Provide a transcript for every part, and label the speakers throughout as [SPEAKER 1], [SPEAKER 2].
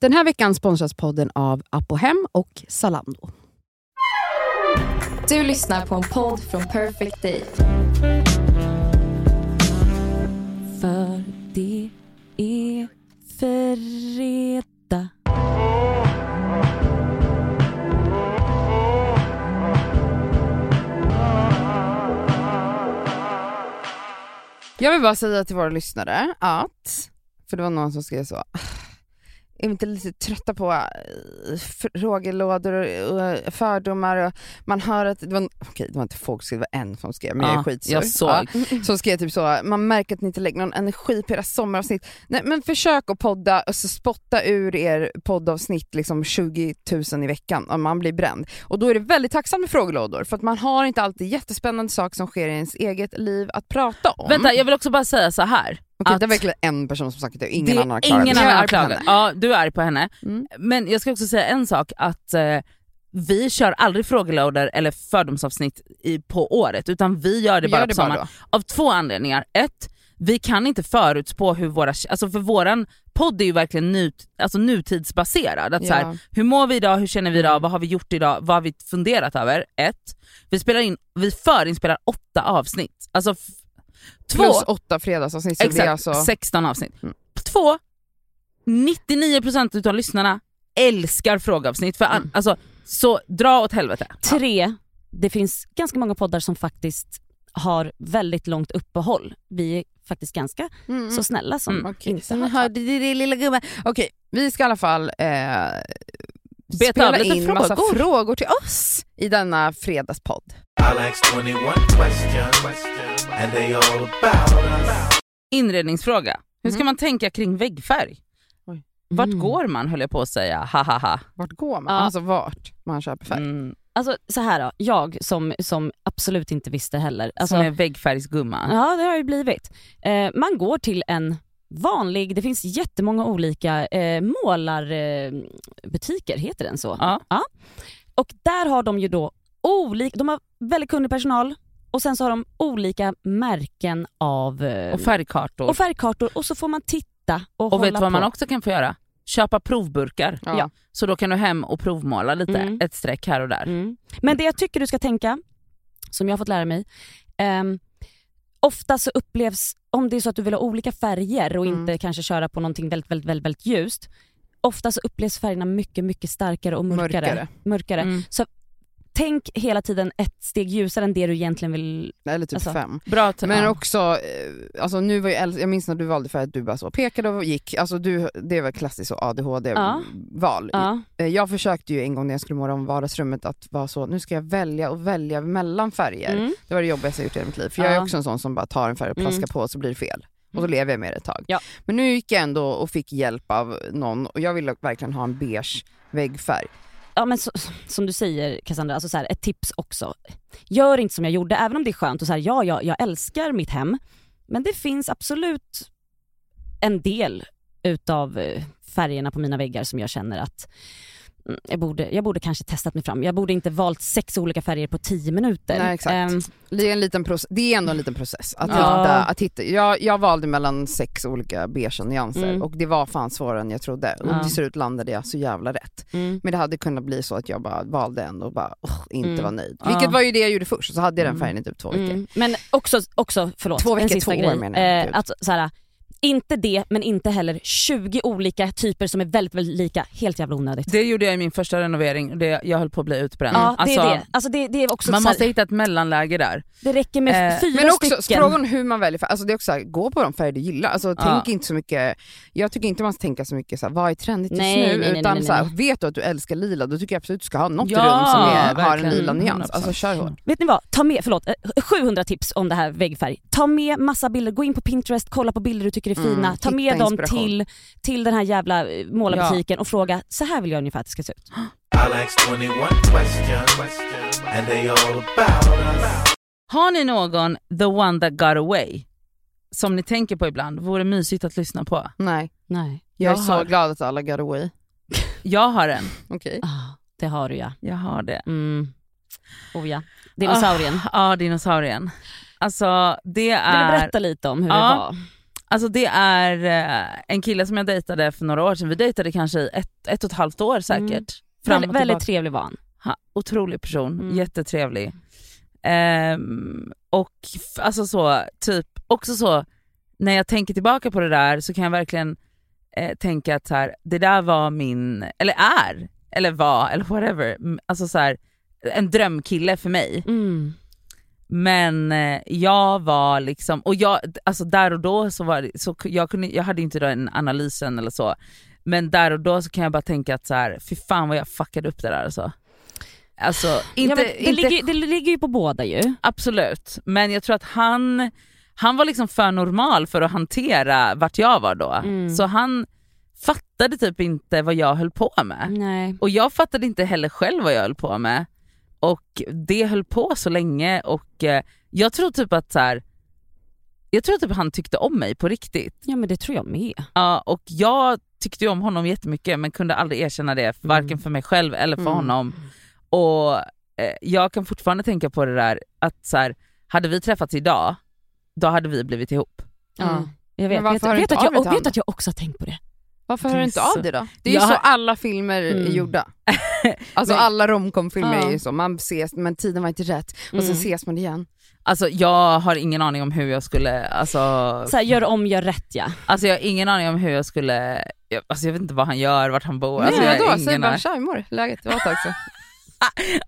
[SPEAKER 1] Den här veckan sponsras podden av Apohem och Zalando.
[SPEAKER 2] Du lyssnar på en podd från Perfect Day.
[SPEAKER 3] För det är fredag.
[SPEAKER 1] Jag vill bara säga till våra lyssnare att, för det var någon som skrev så, "Ah, är vi inte lite trötta på eh, frågelådor och och fördomar? Och man hör att, det var, en- okej det var inte folk som skrev, det var en som skrev men jag är
[SPEAKER 3] Ja,
[SPEAKER 1] skitsur.
[SPEAKER 3] jag såg. Mm.
[SPEAKER 1] Ja, som skrev typ så, man märker att ni inte lägger någon energi på era sommaravsnitt. Nej men försök att podda, alltså spotta ur er poddavsnitt liksom 20 000 i veckan om man blir bränd. Och då är det väldigt tacksamt med frågelådor för att man har inte alltid jättespännande saker som sker i ens eget liv att prata om.
[SPEAKER 3] Vänta, jag vill också bara säga så här.
[SPEAKER 1] Okej,
[SPEAKER 3] att-
[SPEAKER 1] det är verkligen en person som sagt det, ingen
[SPEAKER 3] Det är
[SPEAKER 1] annan har klarat
[SPEAKER 3] ingen
[SPEAKER 1] det.
[SPEAKER 3] annan
[SPEAKER 1] Jag är
[SPEAKER 3] har
[SPEAKER 1] arg på
[SPEAKER 3] klarat
[SPEAKER 1] henne.
[SPEAKER 3] det. Ja, du är arg på henne.
[SPEAKER 1] Mm.
[SPEAKER 3] Men jag ska också säga en sak, att eh, vi kör aldrig frågelådor eller fördomsavsnitt i, på året utan vi gör det
[SPEAKER 1] Vi
[SPEAKER 3] bara
[SPEAKER 1] gör
[SPEAKER 3] på
[SPEAKER 1] det
[SPEAKER 3] sommaren.
[SPEAKER 1] bara då.
[SPEAKER 3] Av två anledningar. Ett, vi kan inte förutspå hur våra, alltså för våran podd är ju verkligen nu, alltså nutidsbaserad. Att så här,
[SPEAKER 1] Ja.
[SPEAKER 3] hur mår vi idag, hur känner vi idag, vad har vi gjort idag, vad har vi funderat över? Ett, vi spelar in, vi förinspelar åtta avsnitt. Alltså f- två,
[SPEAKER 1] Plus åtta fredagsavsnitt. Så det är
[SPEAKER 3] exakt,
[SPEAKER 1] alltså,
[SPEAKER 3] 16 avsnitt.
[SPEAKER 1] Mm.
[SPEAKER 3] Två, 99% utav lyssnarna älskar frågeavsnitt. För an, alltså, så dra åt helvete.
[SPEAKER 4] Tre, det finns ganska många poddar som faktiskt har väldigt långt uppehåll. Vi är faktiskt ganska
[SPEAKER 1] mm,
[SPEAKER 4] så snälla som
[SPEAKER 3] Mm,
[SPEAKER 1] Okej,
[SPEAKER 4] inte
[SPEAKER 1] så ni
[SPEAKER 4] har
[SPEAKER 1] hörde det, det lilla gubben. Okej, vi ska i alla fall eh,
[SPEAKER 3] Beta av
[SPEAKER 1] spela
[SPEAKER 3] lite
[SPEAKER 1] in massa
[SPEAKER 3] frågor.
[SPEAKER 1] frågor till oss i denna fredagspodd.
[SPEAKER 5] Alex 21 questions, and they all about us.
[SPEAKER 3] Inredningsfråga. Hur ska man tänka kring väggfärg? Vart
[SPEAKER 4] Mm.
[SPEAKER 3] går man höll jag på att säga, hahaha.
[SPEAKER 1] Vart går man?
[SPEAKER 4] Ja.
[SPEAKER 1] Alltså vart man köper färg.
[SPEAKER 3] Mm,
[SPEAKER 4] Alltså så här då, jag som, som absolut inte visste heller. Alltså,
[SPEAKER 3] som är väggfärgsgumma.
[SPEAKER 4] Ja det har ju blivit. Eh, man går till en vanlig, det finns jättemånga olika eh, målarbutiker, eh, butiker, heter den så?
[SPEAKER 3] Ja.
[SPEAKER 4] Och där har de ju då olika, de har väldigt kunnig personal och sen så har de olika märken av eh,
[SPEAKER 3] Och färgkartor.
[SPEAKER 4] och färgkartor och så får man titta och,
[SPEAKER 3] Och
[SPEAKER 4] hålla
[SPEAKER 3] vet du vad
[SPEAKER 4] på.
[SPEAKER 3] man också kan få göra? Köpa provburkar.
[SPEAKER 1] Ja.
[SPEAKER 4] Ja.
[SPEAKER 3] Så då kan du hem och provmåla lite,
[SPEAKER 4] Mm.
[SPEAKER 3] ett streck här och där.
[SPEAKER 4] Mm. Men det jag tycker du ska tänka, som jag har fått lära mig, ehm, ofta så upplevs, om det är så att du vill ha olika färger och
[SPEAKER 1] Mm.
[SPEAKER 4] inte kanske köra på någonting väldigt, väldigt, väldigt, väldigt ljust, ofta så upplevs färgerna mycket, mycket starkare och mörkare.
[SPEAKER 1] Mörkare.
[SPEAKER 4] mörkare.
[SPEAKER 3] Mm.
[SPEAKER 4] Tänk hela tiden ett steg ljusare än det du egentligen vill.
[SPEAKER 1] Eller typ
[SPEAKER 4] Alltså,
[SPEAKER 1] fem.
[SPEAKER 3] Bra till,
[SPEAKER 1] Men
[SPEAKER 3] ja.
[SPEAKER 1] också, eh, alltså nu var jag, äldre- jag minns när du valde färg att du bara så pekade och gick. Alltså du, det var klassiskt så
[SPEAKER 4] Ja.
[SPEAKER 1] ADHD-val.
[SPEAKER 4] Ja.
[SPEAKER 1] Eh, Jag försökte ju en gång när jag skulle måla om vardagsrummet att vara så, nu ska jag välja och välja mellan färger.
[SPEAKER 4] Mm.
[SPEAKER 1] Det var det jobbigaste jag gjort i hela mitt liv. För jag är
[SPEAKER 4] Ja.
[SPEAKER 1] också en sån som bara tar en färg och
[SPEAKER 4] Mm.
[SPEAKER 1] plaskar på och så blir det fel. Och så
[SPEAKER 4] Mm.
[SPEAKER 1] lever jag med det ett tag.
[SPEAKER 4] Ja.
[SPEAKER 1] Men nu gick jag ändå och fick hjälp av någon och jag ville verkligen ha en beige väggfärg.
[SPEAKER 4] ja men så, som du säger Cassandra, alltså så här, ett tips också. Gör inte som jag gjorde, även om det är skönt och så här, ja, ja jag älskar mitt hem. Men det finns absolut en del utav eh, färgerna på mina väggar som jag känner att mm, jag borde, jag borde kanske testat mig fram. Jag borde inte valt sex olika färger på tio minuter.
[SPEAKER 1] Nej, exakt. Mm.
[SPEAKER 4] Ehm,
[SPEAKER 1] Det är, en liten proce- det är ändå en liten process att
[SPEAKER 4] Ja.
[SPEAKER 1] hitta. Att hitta. Jag, jag valde mellan sex olika beige nyanser
[SPEAKER 4] Mm.
[SPEAKER 1] och det var fan svårare än jag trodde.
[SPEAKER 4] Ja.
[SPEAKER 1] Och till slut landade jag så jävla rätt. Men det hade kunnat bli så att jag bara valde en och bara "Åh, inte
[SPEAKER 4] Mm.
[SPEAKER 1] var nöjd.
[SPEAKER 3] Ja.
[SPEAKER 1] Vilket var ju det jag gjorde först, så hade jag den
[SPEAKER 3] Mm.
[SPEAKER 1] färgen i typ två veckor.
[SPEAKER 4] Mm. Men också, också förlåt,
[SPEAKER 1] Två veckor,
[SPEAKER 4] en sista
[SPEAKER 1] två år
[SPEAKER 4] grej.
[SPEAKER 1] menar jag. Gud.
[SPEAKER 4] Eh, att, så här, inte det, men inte heller 20 olika typer som är väldigt, väldigt lika. Helt jävla onödigt.
[SPEAKER 3] det gjorde jag i min första renovering, och det, jag höll på att bli utbränd.
[SPEAKER 4] Ja, det
[SPEAKER 3] Alltså,
[SPEAKER 4] är det. Alltså det, det är också
[SPEAKER 3] Man
[SPEAKER 4] så här,
[SPEAKER 3] måste hitta ett mellanläge där.
[SPEAKER 4] det räcker med
[SPEAKER 3] Eh,
[SPEAKER 4] fyra
[SPEAKER 1] Men också
[SPEAKER 4] stycken.
[SPEAKER 1] frågan hur man väljer färg, alltså det är också så här, gå på de färger du gillar. Alltså,
[SPEAKER 3] Ja.
[SPEAKER 1] tänk inte så mycket, jag tycker inte man ska tänka så mycket så här, vad är trendigt just
[SPEAKER 4] Nej,
[SPEAKER 1] nu?
[SPEAKER 4] nej, nej, nej,
[SPEAKER 1] utan
[SPEAKER 4] nej,
[SPEAKER 1] så här,
[SPEAKER 4] nej.
[SPEAKER 1] vet du att du älskar lila, då tycker jag absolut du ska ha något
[SPEAKER 3] Ja,
[SPEAKER 1] rum som är, har en
[SPEAKER 3] verkligen.
[SPEAKER 1] lila
[SPEAKER 3] Mm,
[SPEAKER 1] nyans. Alltså
[SPEAKER 3] 100%.
[SPEAKER 1] kör hårt.
[SPEAKER 4] Vet ni vad? Ta med, förlåt, eh, 700 tips om det här väggfärg. Ta med massa bilder, gå in på Pinterest, kolla på bilder du tycker är
[SPEAKER 1] Mm,
[SPEAKER 4] fina. Ta
[SPEAKER 1] hitta
[SPEAKER 4] med dem
[SPEAKER 1] inspiration.
[SPEAKER 4] till, till den här jävla eh, målarbutiken och fråga, så här vill jag ungefär att det ska se ut.
[SPEAKER 5] Alex 21 questions, and they all about us.
[SPEAKER 3] Har ni någon the one that got away som ni tänker på ibland, vore mysigt att lyssna på?
[SPEAKER 1] Nej,
[SPEAKER 4] Nej.
[SPEAKER 1] jag är
[SPEAKER 3] Jag
[SPEAKER 1] så
[SPEAKER 3] har-
[SPEAKER 1] glad att alla got away.
[SPEAKER 3] Jag har en.
[SPEAKER 1] Okej.
[SPEAKER 4] Ah, det har du ja.
[SPEAKER 3] Jag har det.
[SPEAKER 4] Mm. Oh ja. Dinosaurien.
[SPEAKER 3] Ah, Ja, dinosaurien. Alltså det
[SPEAKER 4] Vill du
[SPEAKER 3] är...
[SPEAKER 4] berätta lite om hur
[SPEAKER 3] Ja.
[SPEAKER 4] det var?
[SPEAKER 3] Alltså det är eh, en kille som jag dejtade för några år sedan, vi dejtade kanske i ett, ett och ett halvt år säkert.
[SPEAKER 4] Mm.
[SPEAKER 3] Fram
[SPEAKER 4] väldigt,
[SPEAKER 3] och
[SPEAKER 4] väldigt
[SPEAKER 3] tillbaka.
[SPEAKER 4] trevlig var han.
[SPEAKER 3] Ha, otrolig person,
[SPEAKER 4] Mm.
[SPEAKER 3] jättetrevlig. Ehm, och f- alltså så, typ, också så, när jag tänker tillbaka på det där så kan jag verkligen eh, tänka att så här, det där var min, eller är, eller var, eller whatever, m- alltså så här, en drömkille för mig.
[SPEAKER 4] Mm.
[SPEAKER 3] Men eh, jag var liksom, och jag, alltså där och då så var det, så k- jag, kunde, jag hade inte den analysen eller så, men där och då så kan jag bara tänka att så här, fy fan vad jag fuckade upp det där alltså. Alltså
[SPEAKER 4] Ja,
[SPEAKER 3] inte,
[SPEAKER 4] men det,
[SPEAKER 3] inte
[SPEAKER 4] ligger, ju- det ligger ju på båda ju.
[SPEAKER 3] absolut, men jag tror att han, han var liksom för normal för att hantera vart jag var då.
[SPEAKER 4] Mm.
[SPEAKER 3] Så han fattade typ inte vad jag höll på med.
[SPEAKER 4] Nej.
[SPEAKER 3] Och jag fattade inte heller själv vad jag höll på med. Och det höll på så länge och eh, jag tror typ att så här, jag tror typ han tyckte om mig på riktigt.
[SPEAKER 4] Ja men det tror jag med.
[SPEAKER 3] Ja, och jag tyckte ju om honom jättemycket men kunde aldrig erkänna det varken för mig själv eller för
[SPEAKER 1] Mm.
[SPEAKER 3] honom. Och eh, jag kan fortfarande tänka på det där att så här, hade vi träffats idag, då hade vi blivit ihop.
[SPEAKER 1] Ja.
[SPEAKER 4] Jag vet,
[SPEAKER 1] Mm. Men varför
[SPEAKER 4] vet,
[SPEAKER 1] har du
[SPEAKER 4] vet,
[SPEAKER 1] inte
[SPEAKER 4] att jag,
[SPEAKER 1] avbrytit
[SPEAKER 4] och vet
[SPEAKER 1] honom?
[SPEAKER 4] att jag också har tänkt på det.
[SPEAKER 1] Varför hör du inte
[SPEAKER 3] Det är så-
[SPEAKER 1] av dig då? Det är ju
[SPEAKER 3] Jag
[SPEAKER 1] så
[SPEAKER 3] har-
[SPEAKER 1] alla filmer är
[SPEAKER 4] Mm.
[SPEAKER 1] gjorda. Alltså
[SPEAKER 3] Men-
[SPEAKER 1] alla romcom-filmer är
[SPEAKER 4] Ja.
[SPEAKER 1] ju så, man ses men tiden var inte rätt och sen
[SPEAKER 4] Mm.
[SPEAKER 1] ses man igen.
[SPEAKER 3] Alltså jag har ingen aning om hur jag skulle, alltså
[SPEAKER 4] Så här, gör om, gör rätt ja.
[SPEAKER 3] Alltså jag har ingen aning om hur jag skulle, jag, alltså jag vet inte vad han gör, vart han bor. Alltså,
[SPEAKER 1] Nej,
[SPEAKER 3] jag har
[SPEAKER 1] vadå? Säg
[SPEAKER 3] ingen
[SPEAKER 1] bara
[SPEAKER 3] aning.
[SPEAKER 1] tja hur mår du? läget? Det var ett tag sedan.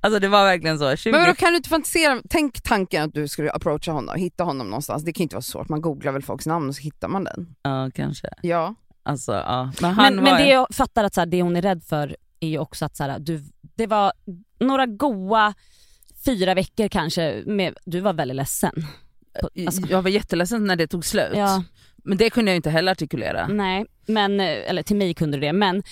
[SPEAKER 3] alltså det var verkligen så. 20...
[SPEAKER 1] Men då kan du inte fantisera, tänk tanken att du skulle approacha honom, hitta honom någonstans. Det kan ju inte vara så svårt, man googlar väl folks namn och så hittar man den.
[SPEAKER 3] Ja kanske.
[SPEAKER 1] Ja.
[SPEAKER 3] Alltså, ja. Men han
[SPEAKER 4] Men,
[SPEAKER 3] var
[SPEAKER 4] men det jag fattar att så här, det hon är rädd för är ju också att så här, du, det var några goa fyra veckor kanske, med, du var väldigt ledsen. alltså-
[SPEAKER 3] Jag var jätteledsen när det tog slut.
[SPEAKER 4] Ja,
[SPEAKER 3] Men det kunde jag ju inte heller artikulera.
[SPEAKER 4] nej. Men, eh, eller till mig kunde du det, men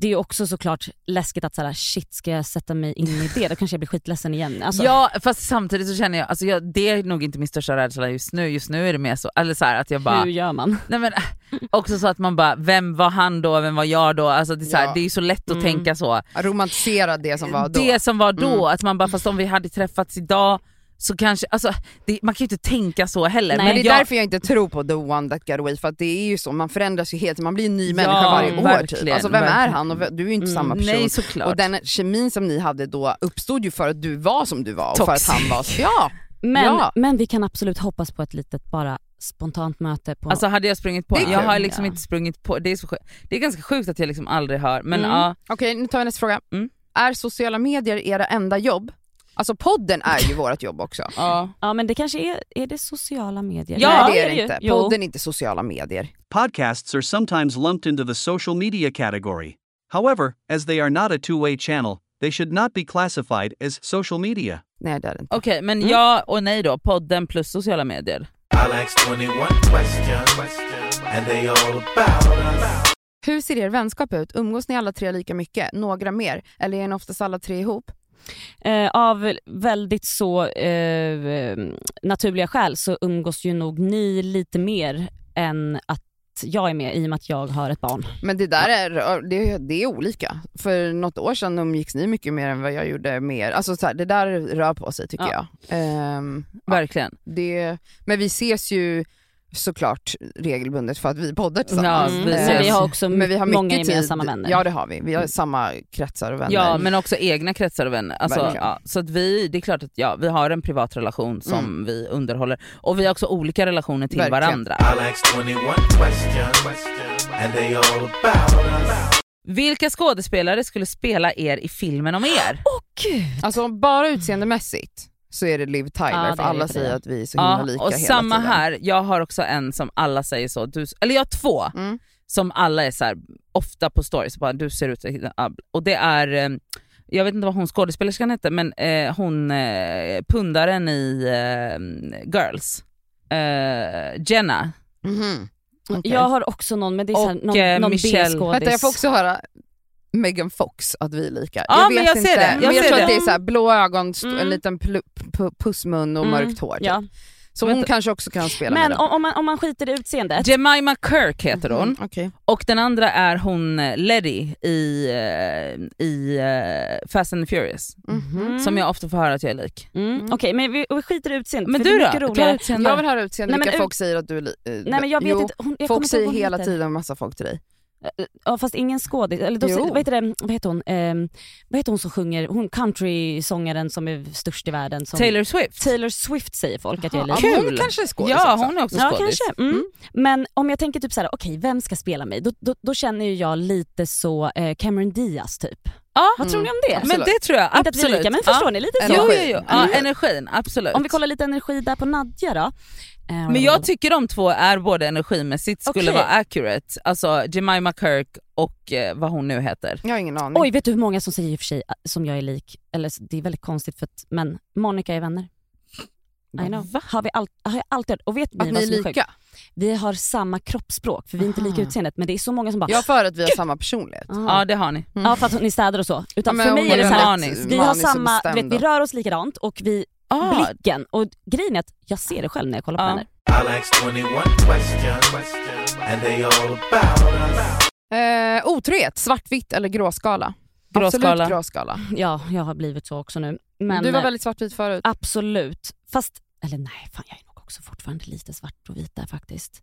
[SPEAKER 4] det är ju också såklart läskigt att så här, shit ska jag sätta mig in i det? Då kanske jag blir skitledsen igen. Alltså,
[SPEAKER 3] Ja fast samtidigt så känner jag, alltså jag, det är nog inte min största rädsla just nu, just nu är det mer så, eller så här, att jag bara,
[SPEAKER 4] hur gör man?
[SPEAKER 3] nej men, eh, också så att man bara, vem var han då, vem var jag då? Alltså det är, så här,
[SPEAKER 1] Ja.
[SPEAKER 3] det är ju så lätt att
[SPEAKER 4] Mm.
[SPEAKER 3] tänka så.
[SPEAKER 1] Romantisera det som var då.
[SPEAKER 3] Det som var då,
[SPEAKER 1] Mm.
[SPEAKER 3] att man bara fast om vi hade träffats idag så kanske, alltså det, man kan ju inte tänka så heller.
[SPEAKER 4] Nej,
[SPEAKER 1] Men det är
[SPEAKER 3] jag,
[SPEAKER 1] därför jag inte tror på the one that got away, för att det är ju så, man förändras ju helt, man blir en ny
[SPEAKER 3] Ja,
[SPEAKER 1] människa varje år typ.
[SPEAKER 3] verkligen,
[SPEAKER 1] Alltså vem är
[SPEAKER 3] verkligen.
[SPEAKER 1] han? Och v- du är ju inte
[SPEAKER 4] Mm,
[SPEAKER 1] samma person.
[SPEAKER 3] Nej såklart.
[SPEAKER 1] Och den kemin som ni hade då uppstod ju för att du var som du var och för att
[SPEAKER 3] Toxic.
[SPEAKER 1] han var så. Ja,
[SPEAKER 4] Men,
[SPEAKER 1] Ja.
[SPEAKER 4] men vi kan absolut hoppas på ett litet bara spontant möte på...
[SPEAKER 3] Alltså hade jag sprungit på
[SPEAKER 1] Det är
[SPEAKER 3] Jag har
[SPEAKER 4] kul.
[SPEAKER 3] liksom
[SPEAKER 4] Ja.
[SPEAKER 3] inte sprungit på, det är, så sjukt. det är ganska sjukt att jag liksom aldrig har, men
[SPEAKER 4] Mm.
[SPEAKER 3] ja.
[SPEAKER 1] okej nu tar vi nästa fråga.
[SPEAKER 3] Mm.
[SPEAKER 1] Är sociala medier era enda jobb? Alltså podden är ju vårt jobb också.
[SPEAKER 3] ja.
[SPEAKER 4] ja men det kanske är, är det sociala medier?
[SPEAKER 3] Ja,
[SPEAKER 1] Nej det är
[SPEAKER 4] ju.
[SPEAKER 1] det inte.
[SPEAKER 4] Jo.
[SPEAKER 1] Podden är inte sociala medier.
[SPEAKER 6] Podcasts are sometimes lumped into the social media category. However, as they are not a two way channel, they should not be classified as social media.
[SPEAKER 1] Nej det är det inte.
[SPEAKER 3] Okej men ja och nej då, podden plus sociala medier.
[SPEAKER 5] I'll ask 21 questions, and they all about us.
[SPEAKER 1] Hur ser er vänskap ut? Umgås ni alla tre lika mycket? Några mer? Eller är ni oftast alla tre ihop?
[SPEAKER 4] Eh, av väldigt så eh, naturliga skäl så umgås ju nog ni lite mer än att jag är med i och med att jag har ett barn.
[SPEAKER 1] Men det där är, det, det är olika. För något år sedan umgicks ni mycket mer än vad jag gjorde med er. Alltså så här, det där rör på sig tycker
[SPEAKER 3] Ja.
[SPEAKER 1] jag. Ehm,
[SPEAKER 3] Verkligen.
[SPEAKER 1] det, men vi ses ju såklart regelbundet för att vi poddar tillsammans.
[SPEAKER 3] Mm.
[SPEAKER 1] Eh,
[SPEAKER 3] vi
[SPEAKER 4] Men vi
[SPEAKER 3] ses.
[SPEAKER 4] har också
[SPEAKER 1] men vi har mycket
[SPEAKER 4] många
[SPEAKER 1] tid.
[SPEAKER 4] gemensamma vänner.
[SPEAKER 1] Ja det har vi, vi har samma kretsar och vänner.
[SPEAKER 3] Ja men också egna kretsar och vänner. Alltså,
[SPEAKER 1] Verkligen.
[SPEAKER 3] ja, så att vi, det är klart att ja, vi har en privat relation som
[SPEAKER 1] Mm.
[SPEAKER 3] vi underhåller och vi har också olika relationer till
[SPEAKER 1] Verkligen.
[SPEAKER 3] varandra.
[SPEAKER 5] I'll ask 21 questions, and they all about us.
[SPEAKER 3] Vilka skådespelare skulle spela er i filmen om er?
[SPEAKER 4] Åh gud!
[SPEAKER 1] Alltså bara utseendemässigt så är det Liv
[SPEAKER 4] Ja, det
[SPEAKER 1] Tyler
[SPEAKER 4] är
[SPEAKER 1] för
[SPEAKER 4] det
[SPEAKER 1] alla
[SPEAKER 4] för
[SPEAKER 1] säger
[SPEAKER 4] det.
[SPEAKER 1] att vi är så himla
[SPEAKER 3] Ja,
[SPEAKER 1] lika
[SPEAKER 3] och
[SPEAKER 1] hela
[SPEAKER 3] samma
[SPEAKER 1] tiden.
[SPEAKER 3] här, jag har också en som alla säger så, du, eller jag har två
[SPEAKER 1] Mm.
[SPEAKER 3] som alla är så här, ofta på stories, bara du ser ut och det är, eh, jag vet inte vad hon skådespelerskan hette, men eh, hon eh, pundaren i eh, Girls, eh, Jenna.
[SPEAKER 1] Mhm. Okej.
[SPEAKER 4] Mm, Jag har också någon, men det är så här,
[SPEAKER 3] Och,
[SPEAKER 4] någon,
[SPEAKER 3] eh,
[SPEAKER 4] någon
[SPEAKER 3] Michelle-
[SPEAKER 4] B-skådis.
[SPEAKER 1] Vänta jag får också höra Megan Fox, att vi är lika.
[SPEAKER 3] Ja, men jag ser det.
[SPEAKER 1] men
[SPEAKER 3] Jag
[SPEAKER 1] jag
[SPEAKER 3] ser
[SPEAKER 1] tror att
[SPEAKER 4] det.
[SPEAKER 1] det är så här, blå ögon, st-
[SPEAKER 4] Mm.
[SPEAKER 1] en liten plu- pu- pussmun och
[SPEAKER 4] Mm.
[SPEAKER 1] mörkt hår. typ.
[SPEAKER 4] Ja.
[SPEAKER 1] Så hon kanske också kan spela
[SPEAKER 4] Men
[SPEAKER 1] med
[SPEAKER 4] om, Mm. om, man, om man skiter i utseendet,
[SPEAKER 3] Jemima Kirk heter hon.
[SPEAKER 1] dem. Okej.
[SPEAKER 3] Och den andra är hon eh, Letty i, eh, i eh, Fast and the Furious.
[SPEAKER 1] Mhm. Mm.
[SPEAKER 3] Som jag ofta får höra att jag är lik.
[SPEAKER 4] mm. okej men vi, vi skiter i utseendet
[SPEAKER 3] Men
[SPEAKER 4] för
[SPEAKER 3] du
[SPEAKER 4] det är mycket
[SPEAKER 3] då?
[SPEAKER 4] roligare.
[SPEAKER 3] Ta sen
[SPEAKER 1] Jag
[SPEAKER 3] då.
[SPEAKER 1] vill höra utseendet,
[SPEAKER 4] Nej, men
[SPEAKER 1] vilka
[SPEAKER 4] ut-
[SPEAKER 1] folk säger att du är li- eh,
[SPEAKER 4] Nej men jag vet
[SPEAKER 1] jo,
[SPEAKER 4] inte, hon, jag kommer
[SPEAKER 1] Folk
[SPEAKER 4] inte ihåg
[SPEAKER 1] säger
[SPEAKER 4] vad hon
[SPEAKER 1] hela
[SPEAKER 4] heter.
[SPEAKER 1] tiden massa folk till dig.
[SPEAKER 4] Ja fast ingen skådis, eller då,
[SPEAKER 1] Jo.
[SPEAKER 4] vad, heter det, vad heter hon, Ehm, vad heter hon som sjunger, hon countrysångaren som är störst i världen. Som,
[SPEAKER 3] Taylor Swift.
[SPEAKER 4] Taylor Swift säger folk att jag är
[SPEAKER 1] Ja,
[SPEAKER 4] lik.
[SPEAKER 1] men Hon
[SPEAKER 3] Kul.
[SPEAKER 1] kanske är skådis
[SPEAKER 3] Ja
[SPEAKER 1] också.
[SPEAKER 3] hon är också
[SPEAKER 4] Ja
[SPEAKER 3] skådis.
[SPEAKER 4] kanske. Mm. Men om jag tänker typ så här: okej vem ska spela mig? Då, då, då känner ju jag lite så eh, Cameron Diaz typ.
[SPEAKER 3] Ja. Mm.
[SPEAKER 4] Vad tror ni om det? Alltså,
[SPEAKER 3] Men det tror jag
[SPEAKER 4] Inte att vi är
[SPEAKER 3] absolut.
[SPEAKER 4] lika men
[SPEAKER 3] Ja.
[SPEAKER 4] förstår ni? Lite så.
[SPEAKER 1] Eller-
[SPEAKER 3] Jo, jo,
[SPEAKER 1] Energi. Mm.
[SPEAKER 3] jo. Ja, energin, absolut.
[SPEAKER 4] Om vi kollar lite energi där på Nadja då. Eh,
[SPEAKER 3] Men jag tycker de två är både energimässigt skulle
[SPEAKER 4] Okej.
[SPEAKER 3] vara accurate. Alltså Jemima Kirk och eh, vad hon nu heter.
[SPEAKER 4] Mm.
[SPEAKER 1] Jag har ingen aning.
[SPEAKER 4] Oj, vet du hur många som säger i och för sig eh, som jag är lik? Eller så- det är väldigt konstigt för att, men Monica är vänner. I know. Har, vi all, har jag alltid hört. Och vet ni
[SPEAKER 1] att
[SPEAKER 4] vad
[SPEAKER 1] ni är
[SPEAKER 4] som är sjukt?
[SPEAKER 1] lika.
[SPEAKER 4] Vi har samma kroppsspråk för vi är inte lika
[SPEAKER 1] Aha.
[SPEAKER 4] utseendet men det är så många som bara
[SPEAKER 1] Jag för att vi har samma personlighet.
[SPEAKER 3] Ja
[SPEAKER 4] "Ah."
[SPEAKER 3] det har ni.
[SPEAKER 4] Ja för att ni städar och så.
[SPEAKER 1] Ja,
[SPEAKER 4] Utan
[SPEAKER 1] men
[SPEAKER 4] för mig
[SPEAKER 1] hon
[SPEAKER 4] är det
[SPEAKER 3] är
[SPEAKER 4] så här,
[SPEAKER 3] manisk-
[SPEAKER 4] vi har
[SPEAKER 1] manisk och
[SPEAKER 4] samma, du
[SPEAKER 1] bestämd
[SPEAKER 4] vet, vi
[SPEAKER 1] då.
[SPEAKER 4] rör oss likadant och vi,
[SPEAKER 3] Ah,
[SPEAKER 4] blicken och grejen är att jag ser det själv när jag kollar på
[SPEAKER 1] Ah.
[SPEAKER 3] Ja.
[SPEAKER 4] henne.
[SPEAKER 5] I'll ask 21 questions, and they all about us.
[SPEAKER 1] Eh, otrohet, svartvitt eller gråskala?
[SPEAKER 3] Gråskala.
[SPEAKER 1] Absolut gråskala.
[SPEAKER 4] Ja, jag har blivit så också nu. Men
[SPEAKER 1] du var
[SPEAKER 4] eh,
[SPEAKER 1] väldigt svartvit förut.
[SPEAKER 4] absolut. Fast, eller nej, fan jag är nog också fortfarande lite svart och vit där faktiskt.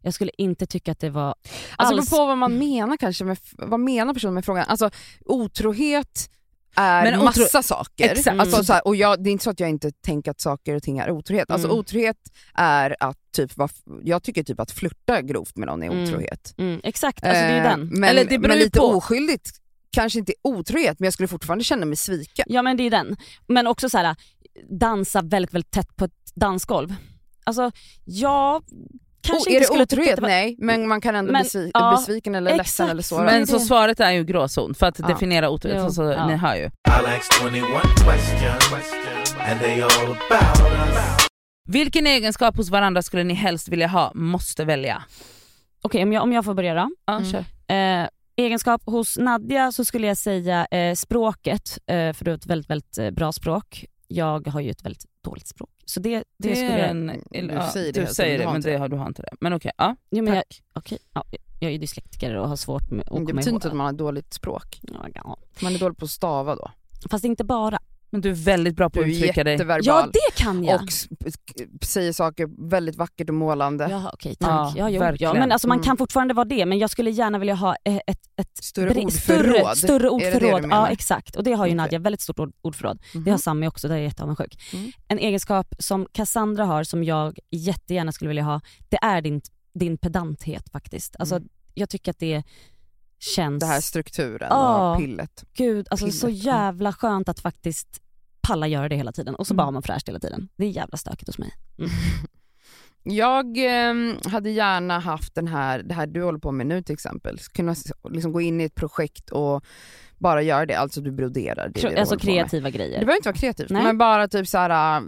[SPEAKER 4] Jag skulle inte tycka att det var
[SPEAKER 1] Alltså det
[SPEAKER 4] alls...
[SPEAKER 1] beror på vad man menar kanske, med, vad menar personen med frågan? Alltså otrohet är
[SPEAKER 3] Men otro-
[SPEAKER 1] massa saker.
[SPEAKER 3] Exakt.
[SPEAKER 1] Alltså, så här, och jag, det är inte så att jag inte tänker att saker och ting är otrohet. Alltså
[SPEAKER 4] Mm.
[SPEAKER 1] otrohet är att typ, vara- jag tycker typ att flirta grovt med någon är
[SPEAKER 4] Mm.
[SPEAKER 1] otrohet.
[SPEAKER 4] Mm, exakt, alltså det är ju
[SPEAKER 1] Eh,
[SPEAKER 4] den.
[SPEAKER 1] Men,
[SPEAKER 3] Eller det beror
[SPEAKER 1] men
[SPEAKER 3] ju
[SPEAKER 1] lite
[SPEAKER 3] på.
[SPEAKER 1] oskyldigt kanske inte är otrohet men jag skulle fortfarande känna mig sviken.
[SPEAKER 4] Ja men det är ju den. Men också så här dansa väldigt, väldigt tätt på ett dansgolv. Alltså, jag kanske
[SPEAKER 1] Oh, är
[SPEAKER 4] inte
[SPEAKER 1] det
[SPEAKER 4] skulle tycka
[SPEAKER 1] otrohet?
[SPEAKER 4] att det var...
[SPEAKER 1] Nej, men man kan ändå
[SPEAKER 4] Men,
[SPEAKER 1] bli svi-
[SPEAKER 4] ja,
[SPEAKER 1] besviken eller ledsen
[SPEAKER 4] exakt.
[SPEAKER 1] eller sårad.
[SPEAKER 3] Men så
[SPEAKER 4] det-
[SPEAKER 3] svaret är ju gråzon för att
[SPEAKER 1] Ja.
[SPEAKER 3] definiera otrohet,
[SPEAKER 4] Jo,
[SPEAKER 3] alltså,
[SPEAKER 4] ja.
[SPEAKER 3] ni hör ju.
[SPEAKER 5] I'll ask 21 questions, and they all about us.
[SPEAKER 3] Vilken egenskap hos varandra skulle ni helst vilja ha, måste välja?
[SPEAKER 4] Okej, om, jag, om jag får börja då.
[SPEAKER 3] Ja,
[SPEAKER 1] Mm.
[SPEAKER 3] kör.
[SPEAKER 4] Eh, egenskap hos Nadja så skulle jag säga eh, språket, eh, för du har ett väldigt, väldigt eh, bra språk. Jag har ju ett väldigt dåligt språk. Så det, det,
[SPEAKER 3] Det
[SPEAKER 4] skulle
[SPEAKER 3] är
[SPEAKER 4] jag...
[SPEAKER 3] en,
[SPEAKER 1] Du
[SPEAKER 3] ja,
[SPEAKER 1] säger det
[SPEAKER 3] du
[SPEAKER 1] helt
[SPEAKER 3] säger
[SPEAKER 1] enkelt,
[SPEAKER 3] det
[SPEAKER 1] du har
[SPEAKER 3] men
[SPEAKER 1] inte
[SPEAKER 3] det har, du har inte det. Men okej, ja.
[SPEAKER 4] Jo, men jag,
[SPEAKER 3] tack.
[SPEAKER 4] okej, ja, jag är ju dyslektiker och har svårt med att
[SPEAKER 1] det
[SPEAKER 4] komma
[SPEAKER 1] betyder
[SPEAKER 4] ihåg.
[SPEAKER 1] inte att man har dåligt språk.
[SPEAKER 4] Ja, ja.
[SPEAKER 1] Man är dålig på att stava då.
[SPEAKER 4] Fast inte bara.
[SPEAKER 3] Men du är väldigt bra på
[SPEAKER 1] Du
[SPEAKER 3] att
[SPEAKER 1] är
[SPEAKER 3] uttrycka dig.
[SPEAKER 1] jätteverbal.
[SPEAKER 4] Ja det kan jag.
[SPEAKER 1] och s- k- säger saker väldigt vackert och målande.
[SPEAKER 4] Ja okej tack.
[SPEAKER 3] Ja,
[SPEAKER 4] Ja, jo, ja,
[SPEAKER 3] verkligen.
[SPEAKER 4] men alltså, man
[SPEAKER 1] Mm.
[SPEAKER 4] kan fortfarande vara det men jag skulle gärna vilja ha eh, ett, ett
[SPEAKER 1] Större
[SPEAKER 4] bre-
[SPEAKER 1] ordförråd.
[SPEAKER 4] Större, större
[SPEAKER 1] det det
[SPEAKER 4] ordförråd.
[SPEAKER 1] du menar?
[SPEAKER 4] ja exakt och det har ju
[SPEAKER 1] Okej.
[SPEAKER 4] Nadja, väldigt stort ord, ordförråd.
[SPEAKER 1] Mhm.
[SPEAKER 4] Det har Sami också, där är jag jätteavundsjuk.
[SPEAKER 1] Mm.
[SPEAKER 4] En egenskap som Cassandra har som jag jättegärna skulle vilja ha, det är din, din pedanthet faktiskt. Alltså,
[SPEAKER 1] Mm.
[SPEAKER 4] Jag tycker att det känns,
[SPEAKER 1] Det här strukturen
[SPEAKER 4] Ja.
[SPEAKER 1] och pillet.
[SPEAKER 4] gud alltså så
[SPEAKER 1] pillet.
[SPEAKER 4] jävla skönt att faktiskt palla göra det hela tiden och så
[SPEAKER 1] Mm.
[SPEAKER 4] bara har man fräscht hela tiden. Det är jävla stökigt hos mig.
[SPEAKER 1] Jag ehm, hade gärna haft den här, det här du håller på med nu till exempel, kunna s- liksom gå in i ett projekt och bara göra det, alltså du broderar. Det är det du
[SPEAKER 4] alltså
[SPEAKER 1] håller på med.
[SPEAKER 4] kreativa
[SPEAKER 1] Det
[SPEAKER 4] grejer.
[SPEAKER 1] behöver inte vara kreativt,
[SPEAKER 4] Nej.
[SPEAKER 1] men bara typ så här äh,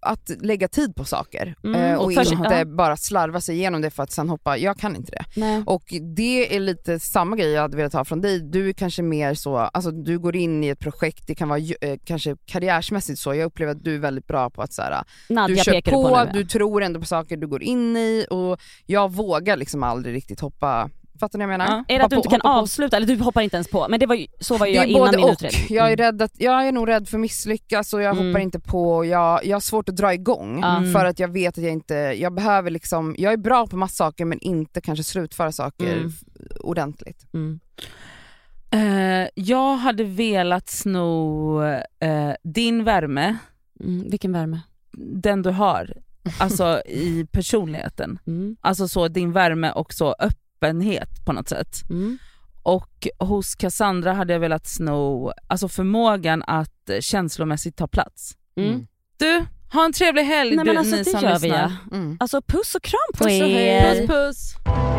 [SPEAKER 1] att lägga tid på saker
[SPEAKER 4] Mm,
[SPEAKER 1] eh, och,
[SPEAKER 4] och först-
[SPEAKER 1] inte
[SPEAKER 4] ja.
[SPEAKER 1] bara slarva sig igenom det för att sen hoppa, jag kan inte det.
[SPEAKER 4] Nej.
[SPEAKER 1] Och det är lite samma grej jag hade velat ha från dig. Du är kanske mer så, alltså du går in i ett projekt, det kan vara ju- eh, kanske karriärsmässigt så. Jag upplever att du är väldigt bra på att så här, äh,
[SPEAKER 4] Nadja
[SPEAKER 1] du kör
[SPEAKER 4] pekade på, nu.
[SPEAKER 1] du tror ändå på saker du går in i och jag vågar liksom aldrig riktigt hoppa, fattar ni vad jag menar?
[SPEAKER 3] Ja.
[SPEAKER 4] Är
[SPEAKER 1] Hoppa
[SPEAKER 4] det att du inte
[SPEAKER 1] på-
[SPEAKER 4] kan
[SPEAKER 1] hoppa på-
[SPEAKER 4] avsluta, eller du hoppar inte ens på, men det var ju, så var ju
[SPEAKER 1] Det
[SPEAKER 4] jag
[SPEAKER 1] är
[SPEAKER 4] innan
[SPEAKER 1] både
[SPEAKER 4] min
[SPEAKER 1] och.
[SPEAKER 4] utredning.
[SPEAKER 1] Jag är,
[SPEAKER 4] Mm.
[SPEAKER 1] rädd att, jag är nog rädd för misslyckas och jag
[SPEAKER 4] Mm.
[SPEAKER 1] hoppar inte på, jag, jag har svårt att dra igång
[SPEAKER 4] Ja. Mm.
[SPEAKER 1] för att jag vet att jag inte, jag behöver liksom, jag är bra på massa saker men inte kanske slutföra saker
[SPEAKER 4] Mm.
[SPEAKER 1] f- ordentligt.
[SPEAKER 4] Mm.
[SPEAKER 3] Eh, jag hade velat sno eh, din värme,
[SPEAKER 4] Mm. Vilken värme.
[SPEAKER 3] den du har, alltså i personligheten.
[SPEAKER 4] Mm.
[SPEAKER 3] Alltså så din värme och så öppenhet på något sätt.
[SPEAKER 4] Mm.
[SPEAKER 3] Och hos Cassandra hade jag velat sno alltså förmågan att eh, känslomässigt ta plats.
[SPEAKER 4] Mm.
[SPEAKER 3] Du, ha en trevlig helg
[SPEAKER 4] Nej
[SPEAKER 3] du,
[SPEAKER 4] men alltså
[SPEAKER 3] ni
[SPEAKER 4] det
[SPEAKER 3] som
[SPEAKER 4] gör vi
[SPEAKER 3] lyssnar.
[SPEAKER 4] ja.
[SPEAKER 1] Mm.
[SPEAKER 4] Alltså puss och kram på
[SPEAKER 1] Puss och hej.
[SPEAKER 3] Puss
[SPEAKER 4] er.
[SPEAKER 3] puss.